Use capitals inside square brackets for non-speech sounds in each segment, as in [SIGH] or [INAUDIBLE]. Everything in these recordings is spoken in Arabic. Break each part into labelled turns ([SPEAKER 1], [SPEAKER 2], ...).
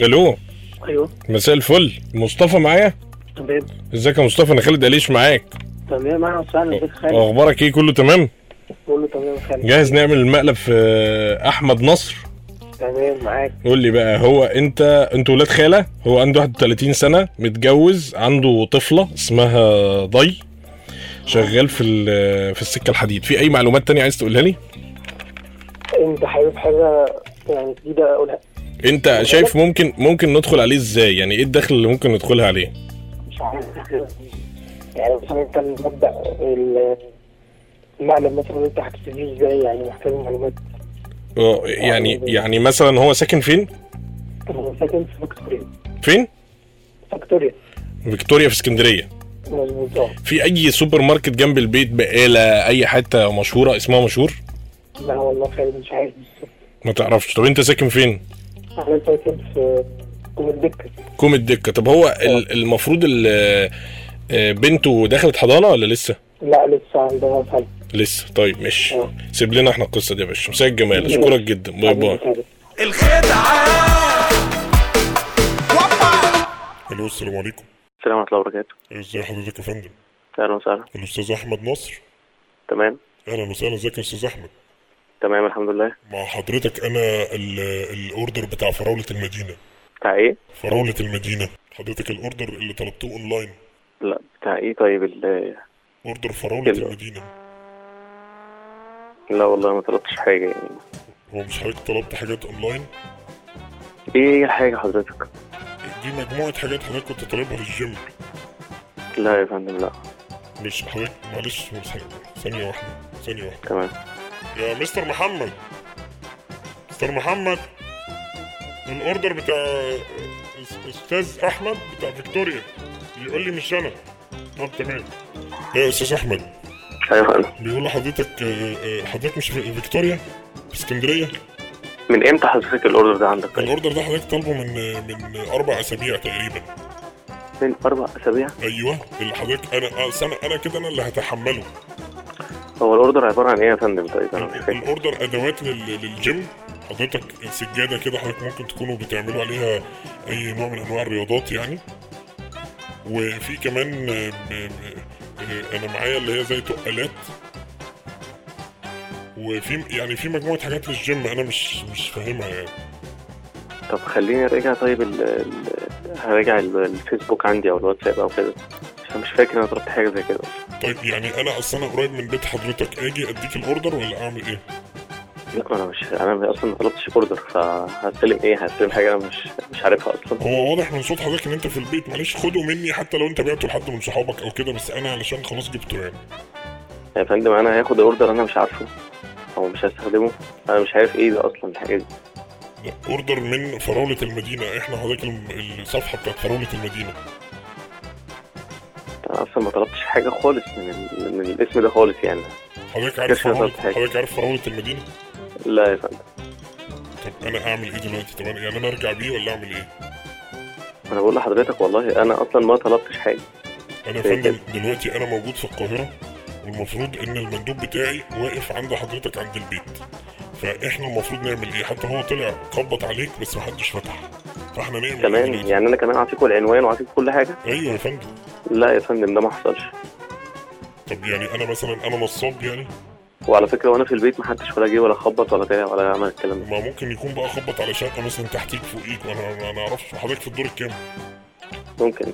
[SPEAKER 1] الو
[SPEAKER 2] ايوه
[SPEAKER 1] مساء الفل مصطفى معايا
[SPEAKER 2] تمام
[SPEAKER 1] ازيك يا مصطفى انا خالد قليش معاك
[SPEAKER 2] تمام انا وسعد البيت خالد
[SPEAKER 1] اخبارك ايه كله تمام
[SPEAKER 2] بقول له تمام يا خالد
[SPEAKER 1] جاهز نعمل المقلب في احمد نصر
[SPEAKER 2] تمام معاك
[SPEAKER 1] قول لي بقى هو انت انت ولاد خاله هو عنده 31 سنه متجوز عنده طفله اسمها ضي شغال في ال- في السكه الحديد في اي معلومات تانية عايز تقولها لي
[SPEAKER 2] انت حابب حاجه يعني جديده اقولها
[SPEAKER 1] انت شايف ممكن ممكن ندخل عليه ازاي يعني ايه الدخل اللي ممكن ندخلها عليه
[SPEAKER 2] مش عارف إيه يعني مثلا انت المبدا ال- المعلم مثلا انت هتبتديه ازاي يعني محتاج معلومات
[SPEAKER 1] اه، يعني يعني مثلا هو ساكن فين
[SPEAKER 2] انا ساكن في فيكتوريا
[SPEAKER 1] فين
[SPEAKER 2] فيكتوريا
[SPEAKER 1] فيكتوريا في اسكندريه
[SPEAKER 2] مظبوط اه
[SPEAKER 1] في اي سوبر ماركت جنب البيت بقاله اي حته مشهوره اسمها مشهور
[SPEAKER 2] لا والله خالد مش عارف بالظبط
[SPEAKER 1] ما تعرفش طب انت ساكن فين
[SPEAKER 2] انا ساكن في كوم الدكه
[SPEAKER 1] كوم الدكه طب هو ال- المفروض ال- آه، بنته دخلت حضانه ولا لسه
[SPEAKER 2] لا لسه عندها فايت
[SPEAKER 1] لسه طيب ماشي
[SPEAKER 2] اه.
[SPEAKER 1] سيب لنا احنا القصه دي يا باشا مساء الجمال اشكرك جدا باي باي
[SPEAKER 3] الخدعة
[SPEAKER 4] الو السلام عليكم
[SPEAKER 5] السلام ورحمة الله وبركاته
[SPEAKER 4] ازي حضرتك يا فندم
[SPEAKER 5] أهلا وسهلا
[SPEAKER 4] الاستاذ احمد نصر
[SPEAKER 5] تمام
[SPEAKER 4] اهلا وسهلا ازيك يا استاذ احمد
[SPEAKER 5] تمام الحمد لله
[SPEAKER 4] مع حضرتك انا ال- الاوردر بتاع فراوله المدينه
[SPEAKER 5] بتاع إيه؟
[SPEAKER 4] فراوله المدينه حضرتك الاوردر اللي طلبته اونلاين
[SPEAKER 5] لا بتاع إيه طيب ال-
[SPEAKER 4] اوردر فراوله
[SPEAKER 5] كده.
[SPEAKER 4] المدينه
[SPEAKER 5] لا والله ما طلبتش حاجة يعني
[SPEAKER 4] هو مش حضرتك طلبت حاجات اونلاين
[SPEAKER 5] إيه هي الحاجة حضرتك؟
[SPEAKER 4] دي مجموعه حاجات حضرتك كنت طالبها للجيم
[SPEAKER 5] لا يا فندم لا
[SPEAKER 4] مش حضرتك معلش ثانية- ثانيه واحده ثانيه واحده
[SPEAKER 5] تمام
[SPEAKER 4] يا مستر محمد مستر محمد الاوردر بتاع أس- استاذ احمد بتاع فيكتوريا بيقول لي مش انا طب تمام يا استاذ احمد
[SPEAKER 5] أيوة يا فندم
[SPEAKER 4] بيقول لحضرتك آه، آه، حضرتك مش في فيكتوريا في اسكندريه
[SPEAKER 5] من إمتى حضرتك الأوردر ده عندك طيب؟
[SPEAKER 4] الاوردر ده حضرتك طالبه من آه، من اربع اسابيع تقريبا
[SPEAKER 5] من أربع أسابيع
[SPEAKER 4] ايوه اللي حضرتك انا أصل انا انا كده انا اللي هتحمله
[SPEAKER 5] هو الأوردر عبارة عن إيه يا فندم طيب؟ أنا مش فاهم
[SPEAKER 4] الاوردر ادوات لل- للجيم حضرتك سجاده كده حضرتك ممكن تكونوا بتعملوا عليها اي نوع من انواع الرياضات يعني وفي كمان آه، ب- ب- آه، انا معايا اللي هي زي تقالات وفي يعني في مجموعه حاجات للجيم انا مش مش فاهمها يعني
[SPEAKER 5] طب خليني أراجع طيب ال ال- هراجع ال- الفيسبوك عندي أو الواتساب أو كده عشان مش فاكر أنا طلبت حاجة زي كده
[SPEAKER 4] طيب يعني انا اصل انا قريب من بيت حضرتك اجي اديك الاوردر ولا اعمل ايه
[SPEAKER 5] لا أنا مش أنا أصلا ما طلبتش أوردر فهستلم إيه؟ هستلم حاجة أنا مش مش عارفها أصلا
[SPEAKER 4] هو واضح من صوت حضرتك ان انت في البيت معلش خده مني حتى لو انت بعته لحد من صحابك او كده بس انا علشان خلاص جبته يعني
[SPEAKER 5] يا فندم انا هاخد اوردر انا مش عارفه او مش هستخدمه انا مش عارف ايه ده اصلا الحاجه دي
[SPEAKER 4] لا، اوردر من فراوله المدينه احنا حضرتك الم- الصفحه بتاعت فراوله المدينه
[SPEAKER 5] انا اصلا ما طلبتش حاجه خالص من, ال... من الاسم ده خالص يعني
[SPEAKER 4] حضرتك عارف
[SPEAKER 5] كيف
[SPEAKER 4] فراوله
[SPEAKER 5] حضرتك حاجة؟
[SPEAKER 4] حضرتك عارف فراوله المدينه
[SPEAKER 5] لا يا فندم
[SPEAKER 4] طب انا اعمل ايه دلوقتي طب أنا- يعني انا ارجع بيه ولا اعمل ايه
[SPEAKER 5] انا بقول لحضرتك والله انا اصلا ما طلبتش حاجه
[SPEAKER 4] انا يا
[SPEAKER 5] إيه
[SPEAKER 4] فندم دلوقتي انا موجود في القاهره والمفروض ان المندوب بتاعي واقف عند حضرتك عند البيت فاحنا المفروض نعمل ايه حتى هو طلع خبط عليك بس محدش فتح فاحنا نعمل
[SPEAKER 5] تمام
[SPEAKER 4] ايه دلوقتي؟
[SPEAKER 5] يعني انا كمان اعطيكم العنوان واعطيكم كل حاجه
[SPEAKER 4] ايوه يا فندم
[SPEAKER 5] لا يا فندم ده ما حصلش
[SPEAKER 4] طب يعني انا مثلا انا نصاب يعني
[SPEAKER 5] وعلى فكره وانا في البيت ما حدش ولا جه ولا خبط ولا طلع ولا عمل الكلام ده
[SPEAKER 4] ما ممكن يكون بقى خبط على شقه مثلا تحتيك فوقيك وانا ما- ما اعرفش حضرتك في الدور الكام
[SPEAKER 5] ممكن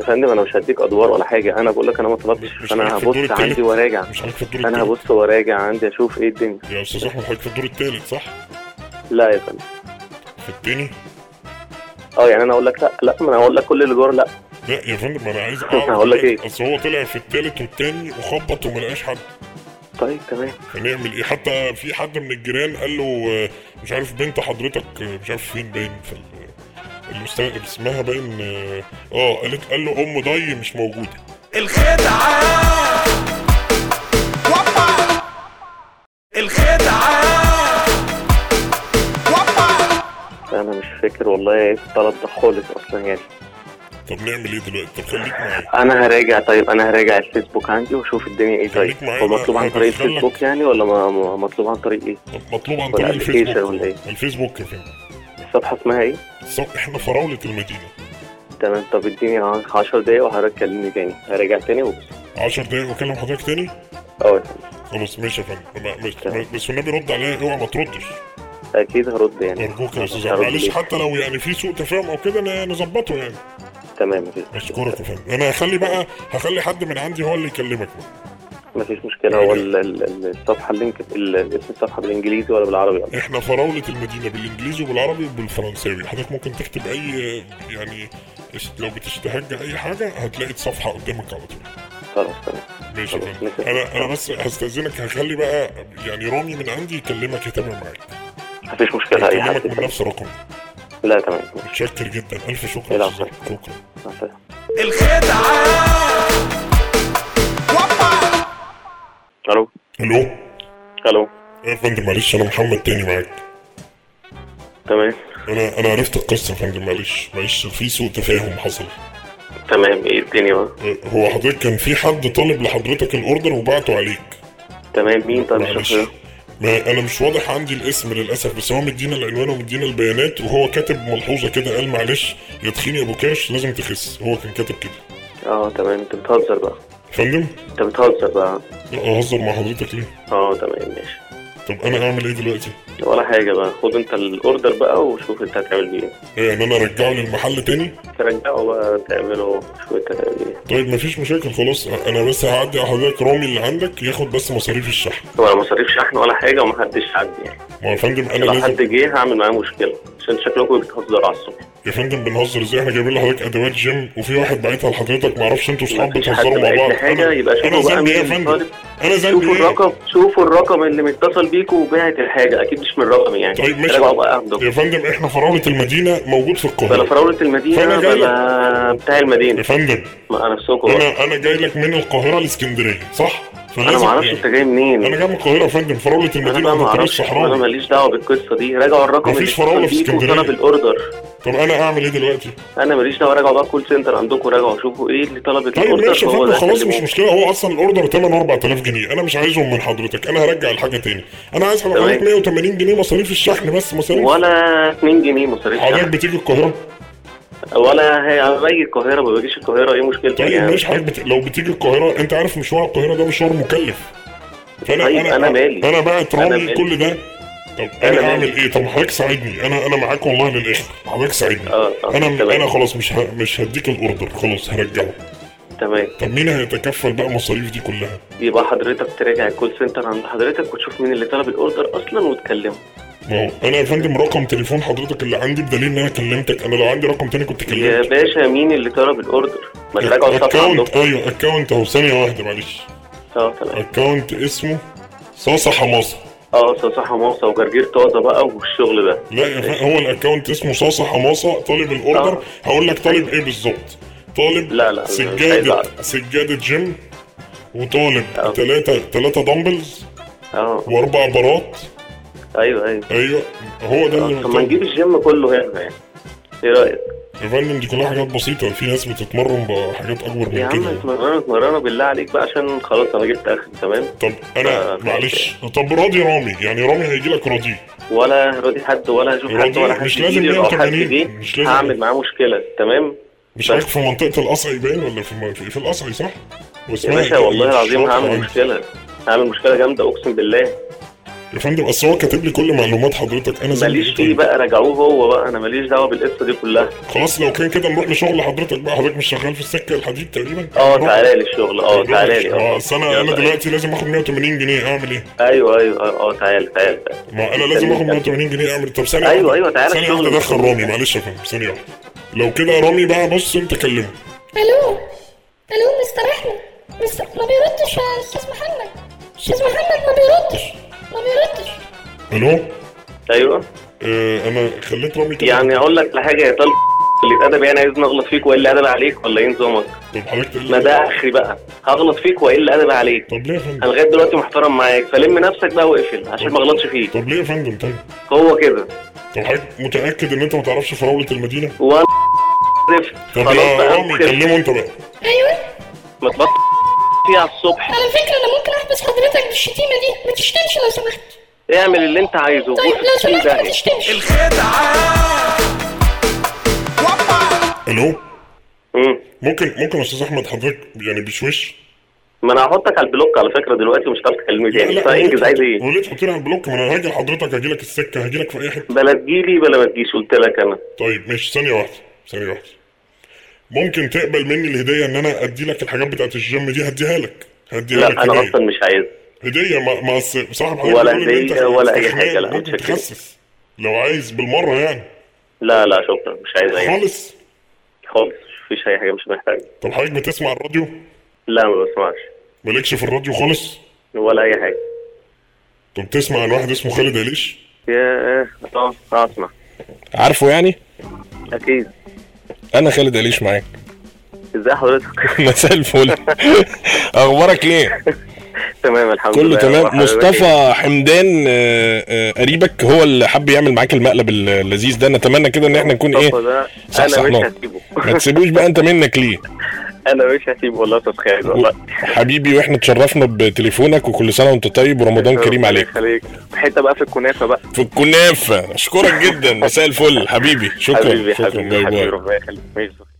[SPEAKER 5] يا فندم انا مش هديك ادوار ولا حاجه انا بقول لك انا ما
[SPEAKER 4] مش
[SPEAKER 5] طلبتش انا
[SPEAKER 4] عارف الدور
[SPEAKER 5] هبص
[SPEAKER 4] التالت.
[SPEAKER 5] عندي واراجع
[SPEAKER 4] مش عارف في الدور
[SPEAKER 5] انا
[SPEAKER 4] التالت
[SPEAKER 5] هبص واراجع عندي اشوف ايه الدنيا
[SPEAKER 4] يا استاذ احمد حضرتك في الدور التالت صح؟
[SPEAKER 5] لا يا فندم
[SPEAKER 4] في التاني؟
[SPEAKER 5] اه يعني انا اقول لك لا لا ما انا هقول لك كل الادوار لا
[SPEAKER 4] لا يا فندم انا
[SPEAKER 5] [LAUGHS]
[SPEAKER 4] عايز
[SPEAKER 5] هقول لك
[SPEAKER 4] دلوقتي.
[SPEAKER 5] إيه؟
[SPEAKER 4] اصل هو طلع في التالت والتاني وخبط وما لقاش حد
[SPEAKER 5] طيب تمام
[SPEAKER 4] هنعمل ايه؟ حتى في حد من الجيران قال له آه، مش عارف بنت حضرتك آه، مش عارف فين باين في ال- الاستاذ اسمها باين اه آه، قالت قال له ام ضي مش موجوده
[SPEAKER 3] الخدعة وابا. الخدعة وابا.
[SPEAKER 5] انا مش فاكر والله ايه الطلب ده خالص اصلا يعني
[SPEAKER 4] طب نعمل ايه دلوقتي؟ طب خليك معايا
[SPEAKER 5] انا هراجع طيب انا هراجع الفيسبوك عندي واشوف الدنيا ايه طيب
[SPEAKER 4] [LAUGHS] خليك معايا،
[SPEAKER 5] هو مطلوب عن
[SPEAKER 4] أنا
[SPEAKER 5] طريق
[SPEAKER 4] هدخلك.
[SPEAKER 5] الفيسبوك يعني ولا ما ما- مطلوب عن طريق ايه
[SPEAKER 4] طب مطلوب عن
[SPEAKER 5] ولا
[SPEAKER 4] طريق
[SPEAKER 5] application
[SPEAKER 4] الفيسبوك
[SPEAKER 5] ولا إيه؟
[SPEAKER 4] الفيسبوك يا فندم
[SPEAKER 5] الصفحه اسمها ايه
[SPEAKER 4] صح احنا فراوله المدينه
[SPEAKER 5] تمام طب اديني 10 دقايق وحضرتك كلمني تاني هراجع تاني وبس
[SPEAKER 4] 10 دقايق واكلم حضرتك تاني
[SPEAKER 5] اه
[SPEAKER 4] خلاص ماشي يا فندم ما- مش- ما- بس والنبي رد عليا اوعى ما تردش
[SPEAKER 5] اكيد هرد يعني
[SPEAKER 4] ارجوك يا استاذ
[SPEAKER 5] هرد
[SPEAKER 4] عمرو. معلش
[SPEAKER 5] ليك.
[SPEAKER 4] حتى لو يعني في سوء تفاهم او كده ن- نظبطه يعني
[SPEAKER 5] تمام مفيش
[SPEAKER 4] اشكرك يا فندم انا هخلي بقى هخلي حد من عندي هو اللي يكلمك بقى
[SPEAKER 5] مفيش مشكله هو ال- ال- ال- الصفحه اللينك ال- اسم الصفحه بالانجليزي ولا بالعربي ولا
[SPEAKER 4] احنا فراوله المدينه بالانجليزي وبالعربي وبالفرنساوي حضرتك ممكن تكتب اي يعني است- لو بتشتهج اي حاجه هتلاقي الصفحه قدامك على طول
[SPEAKER 5] خلاص تمام
[SPEAKER 4] ماشي يا
[SPEAKER 5] خلاص،
[SPEAKER 4] فندم
[SPEAKER 5] ماشي.
[SPEAKER 4] انا انا بس هستاذنك هخلي بقى يعني رامي من عندي يكلمك يتابع معاك
[SPEAKER 5] مفيش مشكله اي
[SPEAKER 4] يكلمك من
[SPEAKER 5] حاجه
[SPEAKER 4] نفس رقمي
[SPEAKER 5] لا تمام
[SPEAKER 4] متشكر جدا الف شكر يا
[SPEAKER 5] العفو.
[SPEAKER 4] استاذ عمرو. شكرا
[SPEAKER 5] مع السلامه
[SPEAKER 3] الخدعة وقعت
[SPEAKER 5] الو
[SPEAKER 4] الو
[SPEAKER 5] الو
[SPEAKER 4] يا فندم معلش انا محمد تاني معاك
[SPEAKER 5] تمام
[SPEAKER 4] انا انا عرفت القصه يا فندم معلش معلش في سوء تفاهم حصل
[SPEAKER 5] تمام ايه الدنيا بقى
[SPEAKER 4] أه، هو حضرتك كان في حد طالب لحضرتك الاوردر وبعته عليك
[SPEAKER 5] تمام مين طيب
[SPEAKER 4] معلش
[SPEAKER 5] الشخص ده؟
[SPEAKER 4] ما انا مش واضح عندي الاسم للاسف بس هو مدينا العنوان ومدينا البيانات وهو كاتب ملحوظه كده قال معلش يا تخين يا ابو كاش لازم تخس هو كان كاتب كده
[SPEAKER 5] اه تمام انت بتهزر بقى
[SPEAKER 4] فندم
[SPEAKER 5] انت بتهزر بقى
[SPEAKER 4] لا اهزر مع حضرتك ليه
[SPEAKER 5] اه تمام ماشي
[SPEAKER 4] طب انا اعمل ايه دلوقتي
[SPEAKER 5] ولا حاجه بقى خد انت الاوردر بقى وشوف انت هتعمل بيه ايه
[SPEAKER 4] إيه، يعني انا ارجعه للمحل تاني
[SPEAKER 5] ترجعه بقى تعمله شوف انت هتعمل ايه
[SPEAKER 4] طيب مفيش مشاكل خلاص انا بس هعدي على حضرتك رامي اللي عندك ياخد بس مصاريف الشحن
[SPEAKER 5] ولا مصاريف شحن ولا حاجه ومحدش عدى يعني
[SPEAKER 4] ما هو يا فندم انا
[SPEAKER 5] لو
[SPEAKER 4] لازم
[SPEAKER 5] حد جه هعمل معاه مشكله عشان شكلكم بتهزروا على الصبح
[SPEAKER 4] يا فندم بنهزر ازاي احنا جايبين لحضرتك ادوات جيم وفي واحد باعتها لحضرتك معرفش انتوا اصحاب
[SPEAKER 5] يعني مفيش حد
[SPEAKER 4] بتهزروا مع
[SPEAKER 5] باعت
[SPEAKER 4] بعض
[SPEAKER 5] لي حاجة،
[SPEAKER 4] انا
[SPEAKER 5] يبقى شوفوا
[SPEAKER 4] أنا
[SPEAKER 5] بقى
[SPEAKER 4] ذنبي ايه يا
[SPEAKER 5] مين
[SPEAKER 4] فندم
[SPEAKER 5] طالب.
[SPEAKER 4] انا ذنبي
[SPEAKER 5] شوفوا
[SPEAKER 4] ايه
[SPEAKER 5] الرقم شوفوا الرقم اللي متصل بيكم وبعت الحاجه اكيد مش من رقمي يعني
[SPEAKER 4] طيب ماشي
[SPEAKER 5] راجعوا بقى عندكم
[SPEAKER 4] يا فندم احنا فراوله المدينه موجود في
[SPEAKER 5] بلا
[SPEAKER 4] القاهره
[SPEAKER 5] فراوله المدينه
[SPEAKER 4] فأنا جاي
[SPEAKER 5] بلا بتاع
[SPEAKER 4] يا
[SPEAKER 5] المدينه
[SPEAKER 4] فندم
[SPEAKER 5] مع نفسكم بقى
[SPEAKER 4] انا انا جاي لك من القاهره لاسكندريه صح
[SPEAKER 5] انا
[SPEAKER 4] فلازم
[SPEAKER 5] ما اعرفش
[SPEAKER 4] يعني-
[SPEAKER 5] انت جاي منين
[SPEAKER 4] انا جاي من القاهره يا فندم فراوله
[SPEAKER 5] انا
[SPEAKER 4] المدينه
[SPEAKER 5] بقى ما
[SPEAKER 4] عند الطريق
[SPEAKER 5] اعرفش انا
[SPEAKER 4] الصحراوي
[SPEAKER 5] ماليش دعوه بالقصه دي راجعوا الرقم
[SPEAKER 4] مفيش
[SPEAKER 5] اللي
[SPEAKER 4] فراولة
[SPEAKER 5] اتصل
[SPEAKER 4] في
[SPEAKER 5] بيكوا
[SPEAKER 4] اسكندرية.
[SPEAKER 5] وطلب الاوردر
[SPEAKER 4] طب انا اعمل ايه دلوقتي
[SPEAKER 5] انا ماليش دعوه راجعوا بقى كول سنتر عندكم راجعوا شوفوا ايه اللي طلب
[SPEAKER 4] طيب
[SPEAKER 5] الاوردر
[SPEAKER 4] ماشي يا
[SPEAKER 5] فهو
[SPEAKER 4] فندم
[SPEAKER 5] ده
[SPEAKER 4] خلاص مش
[SPEAKER 5] هكلمه.
[SPEAKER 4] مشكله هو اصلا الاوردر ثمنه 4000 جنيه انا مش عايزهم من حضرتك انا هرجع الحاجه تاني انا عايز
[SPEAKER 5] تمام.
[SPEAKER 4] حضرتك 180 جنيه مصاريف الشحن بس مصاريف
[SPEAKER 5] ولا 2 جنيه مصاريف
[SPEAKER 4] حضرتك
[SPEAKER 5] شحن.
[SPEAKER 4] بتيجي القاهره
[SPEAKER 5] ولا هي انا باجي القاهره ما باجيش القاهره ايه مشكلتك
[SPEAKER 4] طيب
[SPEAKER 5] يعني
[SPEAKER 4] ماشي حضرتك بت... لو بتيجي القاهره انت عارف مشوار القاهره ده مشوار مكلف فانا
[SPEAKER 5] طيب، أنا مالي.
[SPEAKER 4] انا باعت
[SPEAKER 5] أنا
[SPEAKER 4] رامي
[SPEAKER 5] مالي.
[SPEAKER 4] كل ده طب
[SPEAKER 5] أنا
[SPEAKER 4] انا
[SPEAKER 5] مالي.
[SPEAKER 4] اعمل ايه طب حضرتك ساعدني انا انا معاك والله للاخر حضرتك ساعدني
[SPEAKER 5] آه، آه،
[SPEAKER 4] انا
[SPEAKER 5] تمام.
[SPEAKER 4] انا خلاص مش ه... مش هديك الاوردر خلاص هرجعه
[SPEAKER 5] تمام
[SPEAKER 4] طب مين هيتكفل بقى المصاريف دي كلها
[SPEAKER 5] يبقى حضرتك تراجع الكول سنتر عند حضرتك وتشوف مين اللي طلب الاوردر اصلا وتكلمه
[SPEAKER 4] ما هو انا يا فندم رقم تليفون حضرتك اللي عندي بدليل ان انا كلمتك انا لو عندي رقم تاني كنت
[SPEAKER 5] يا
[SPEAKER 4] كلمتك
[SPEAKER 5] باشا مين اللي طلب الاوردر ما
[SPEAKER 4] إيه؟
[SPEAKER 5] تراجعوا الصفحه
[SPEAKER 4] اكونت
[SPEAKER 5] عندكم
[SPEAKER 4] ايوه اكونت اهو ثانيه واحده معلش
[SPEAKER 5] اه تمام
[SPEAKER 4] اكونت اسمه صاصه حماصه
[SPEAKER 5] اه صفحه موصى وجرجير طازه بقى والشغل ده
[SPEAKER 4] لا يا فندم، هو الاكونت اسمه صاصه حماصه طالب الاوردر
[SPEAKER 5] آه.
[SPEAKER 4] هقول لك طالب ايه بالظبط طالب
[SPEAKER 5] لا، لا، مش عايز
[SPEAKER 4] سجاده
[SPEAKER 5] أعرف.
[SPEAKER 4] سجاده جيم وطالب
[SPEAKER 5] آه.
[SPEAKER 4] ثلاثه ثلاثه دمبلز
[SPEAKER 5] اه
[SPEAKER 4] واربع بارات
[SPEAKER 5] ايوه ايوه
[SPEAKER 4] ايوه هو ده اللي
[SPEAKER 5] اه، طب ما نجيب الجيم كله هنا يعني ايه رايك
[SPEAKER 4] يا فندم دي كلها حاجات بسيطه في ناس بتتمرن بحاجات اكبر
[SPEAKER 5] يا
[SPEAKER 4] من
[SPEAKER 5] عم
[SPEAKER 4] إيه كده
[SPEAKER 5] اتمرنوا اتمرنوا بالله عليك بقى عشان خلاص انا جبت اخر تمام
[SPEAKER 4] طب انا
[SPEAKER 5] آه،
[SPEAKER 4] معلش طب راضي رامي يعني رامي هيجي لك راضي
[SPEAKER 5] ولا راضي حد ولا هشوف حد
[SPEAKER 4] راضي،
[SPEAKER 5] ولا حد
[SPEAKER 4] مش لازم
[SPEAKER 5] يجيلي ولا حد
[SPEAKER 4] 180.
[SPEAKER 5] جه
[SPEAKER 4] مش لازم.
[SPEAKER 5] هعمل معاه مشكله تمام
[SPEAKER 4] مش
[SPEAKER 5] بس.
[SPEAKER 4] عارف في منطقه القصعي باين ولا في م- في في القصعي صح؟
[SPEAKER 5] يا
[SPEAKER 4] واسمها
[SPEAKER 5] باشا
[SPEAKER 4] إيه؟
[SPEAKER 5] والله العظيم
[SPEAKER 4] الشاطئ
[SPEAKER 5] هعمل
[SPEAKER 4] عندي.
[SPEAKER 5] مشكله هعمل مشكله جامده اقسم بالله
[SPEAKER 4] يا فندم اصل هو كاتب لي كل معلومات حضرتك انا زي طيب. ما
[SPEAKER 5] ماليش
[SPEAKER 4] قلت
[SPEAKER 5] فيه
[SPEAKER 4] لك.
[SPEAKER 5] بقى راجعوه هو بقى انا ماليش دعوه بالقصه دي كلها
[SPEAKER 4] خلاص لو كان كده نروح لشغل حضرتك بقى حضرتك مش شغال في السكه الحديد تقريبا
[SPEAKER 5] اه
[SPEAKER 4] نروح-
[SPEAKER 5] تعالى لي الشغل اه
[SPEAKER 4] نروح-
[SPEAKER 5] تعالى لي
[SPEAKER 4] اه
[SPEAKER 5] اه
[SPEAKER 4] اصل انا انا
[SPEAKER 5] يلا.
[SPEAKER 4] دلوقتي لازم اخد 180 جنيه اعمل ايه؟
[SPEAKER 5] ايوه ايوه اه آه، تعالى تعالى تعالى.
[SPEAKER 4] ما انا لازم اخد 180 جنيه اعمل طب ثانيه
[SPEAKER 5] أيوة،
[SPEAKER 4] واحدة.
[SPEAKER 5] أيوة، تعالى
[SPEAKER 4] ثانيه
[SPEAKER 5] الشغل.
[SPEAKER 4] واحده ادخل رامي معلش يا فندم ثانيه واحده لو كده رامي بقى بص انت كلمه
[SPEAKER 6] الو الو مستر احمد مستر ما بيردش يا استاذ محمد استاذ محمد ما بيردش ما بيردش
[SPEAKER 4] الو
[SPEAKER 5] ايوه
[SPEAKER 4] آه انا خليت رامي كده
[SPEAKER 5] يعني اقول لك على حاجه يا طالب اللي اتقدم يعني عايزني اغلط فيك وايه اللي ادب عليك ولا ايه نظامك؟
[SPEAKER 4] طب حضرتك تقول لي-
[SPEAKER 5] ما ده اخري بقى هغلط فيك وايه اللي ادب عليك؟
[SPEAKER 4] طب ليه يا فندم؟
[SPEAKER 5] انا لغايه دلوقتي محترم معاك فلم نفسك بقى واقفل عشان ما اغلطش فيك
[SPEAKER 4] طب ليه يا فندم طيب؟
[SPEAKER 5] هو كده
[SPEAKER 4] طب حضرتك متاكد ان انت ما تعرفش فراوله المدينه؟
[SPEAKER 5] وانا عرفت
[SPEAKER 4] طب
[SPEAKER 5] خلاص
[SPEAKER 4] يا
[SPEAKER 5] بقى
[SPEAKER 4] رامي
[SPEAKER 5] ممكن
[SPEAKER 4] كلمه انت بقى
[SPEAKER 6] ايوه
[SPEAKER 5] ما تبطل فيها الصبح
[SPEAKER 6] على فكره انا ممكن احبس حضرتك بالشتيمه دي ما تشتمش لو سمحت
[SPEAKER 5] اعمل اللي انت عايزه
[SPEAKER 6] طيب لو
[SPEAKER 5] بص في
[SPEAKER 6] سمحت ما
[SPEAKER 5] داهية
[SPEAKER 6] تشتمش
[SPEAKER 3] الخدعة
[SPEAKER 4] الو
[SPEAKER 5] مم.
[SPEAKER 4] ممكن ممكن يا استاذ احمد حضرتك يعني بشوش
[SPEAKER 5] ما انا هحطك على البلوك على فكره دلوقتي ومش هتعرف تكلمني تاني فانجز عايز ايه؟
[SPEAKER 4] وليه تحطيني على البلوك ما انا هاجي لحضرتك هاجي لك السكه هاجي لك في اي حته
[SPEAKER 5] بلا تجيلي بلا ما تجيش قلت لك انا
[SPEAKER 4] طيب ماشي ثانيه واحده ثانيه واحده ممكن تقبل مني الهديه ان انا ادي لك الحاجات بتاعت الجيم دي هديها لك هديها لك
[SPEAKER 5] لا انا
[SPEAKER 4] هدية.
[SPEAKER 5] اصلا مش عايز
[SPEAKER 4] هديه ما ما أصل صاحب حضرتك
[SPEAKER 5] ولا
[SPEAKER 4] بيقول إن أنت
[SPEAKER 5] هدية ولا أي
[SPEAKER 4] استحمال،
[SPEAKER 5] حاجة، لا،
[SPEAKER 4] ممكن
[SPEAKER 5] مش هكذب.
[SPEAKER 4] تخسس لو عايز بالمره يعني
[SPEAKER 5] لا لا شكرا مش عايز اي حاجه
[SPEAKER 4] خالص
[SPEAKER 5] خالص مفيش اي حاجه مش محتاجه
[SPEAKER 4] طب حضرتك بتسمع الراديو
[SPEAKER 5] لا ما بسمعش
[SPEAKER 4] مالكش في الراديو خالص
[SPEAKER 5] ولا اي حاجه
[SPEAKER 4] طب تسمع عن واحد اسمه خالد عليش
[SPEAKER 5] يا اه آه، اسمع
[SPEAKER 1] عارفه يعني
[SPEAKER 5] اكيد
[SPEAKER 1] انا خالد قليش معاك [LAUGHS]
[SPEAKER 5] ازاي حضرتك [LAUGHS]
[SPEAKER 1] مساء الفل اخبارك ايه
[SPEAKER 5] تمام الحمد
[SPEAKER 1] كله
[SPEAKER 5] لله
[SPEAKER 1] تمام
[SPEAKER 5] وحضرتك إيه؟
[SPEAKER 1] مصطفى حمدان آه، آه، قريبك هو اللي حب يعمل معاك المقلب اللذيذ ده نتمنى كده ان احنا نكون ايه
[SPEAKER 5] مصطفى ده
[SPEAKER 1] صح صح
[SPEAKER 5] انا مش
[SPEAKER 1] نعم.
[SPEAKER 5] هسيبه
[SPEAKER 1] ما تسيبوش بقى انت منك ليه
[SPEAKER 5] انا مش هسيبه والله يا استاذ خالد والله
[SPEAKER 1] حبيبي واحنا اتشرفنا بتليفونك وكل سنه وانت طيب ورمضان كريم عليك
[SPEAKER 5] خليك حته بقى في الكنافه بقى
[SPEAKER 1] في الكنافه اشكرك جدا مساء الفل حبيبي شكرا
[SPEAKER 5] حبيبي
[SPEAKER 1] شكرا
[SPEAKER 5] حبيبي
[SPEAKER 1] باي
[SPEAKER 5] حبيبي
[SPEAKER 1] باي
[SPEAKER 5] ربنا يخليك ماشي.